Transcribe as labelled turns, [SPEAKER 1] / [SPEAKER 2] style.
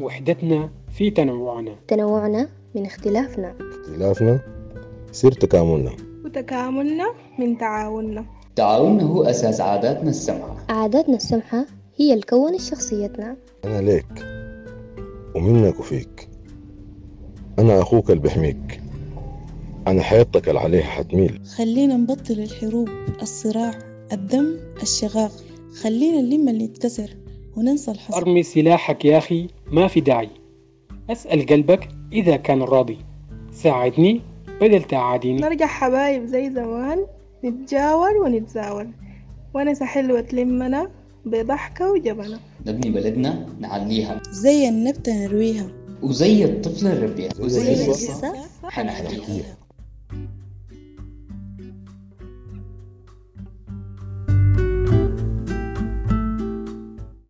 [SPEAKER 1] وحدتنا في تنوعنا
[SPEAKER 2] تنوعنا من اختلافنا
[SPEAKER 3] اختلافنا سر تكاملنا
[SPEAKER 4] وتكاملنا من تعاوننا
[SPEAKER 5] تعاوننا هو أساس عاداتنا السمحة
[SPEAKER 2] عاداتنا السمحة هي الكون شخصيتنا
[SPEAKER 3] أنا ليك ومنك وفيك أنا أخوك اللي بحميك أنا حيطك اللي عليها حتميل
[SPEAKER 6] خلينا نبطل الحروب الصراع الدم الشغاق خلينا نلم اللي اتكسر وننسى الحصر
[SPEAKER 1] أرمي سلاحك يا أخي ما في داعي أسأل قلبك إذا كان راضي ساعدني بدل تعاديني
[SPEAKER 4] نرجع حبايب زي زمان نتجاور ونتزاور ونسى حلوة تلمنا بضحكة وجبنة
[SPEAKER 5] نبني بلدنا نعليها
[SPEAKER 6] زي النبتة نرويها
[SPEAKER 5] وزي الطفل نربيها
[SPEAKER 3] وزي
[SPEAKER 5] وزي القصة حنحكيها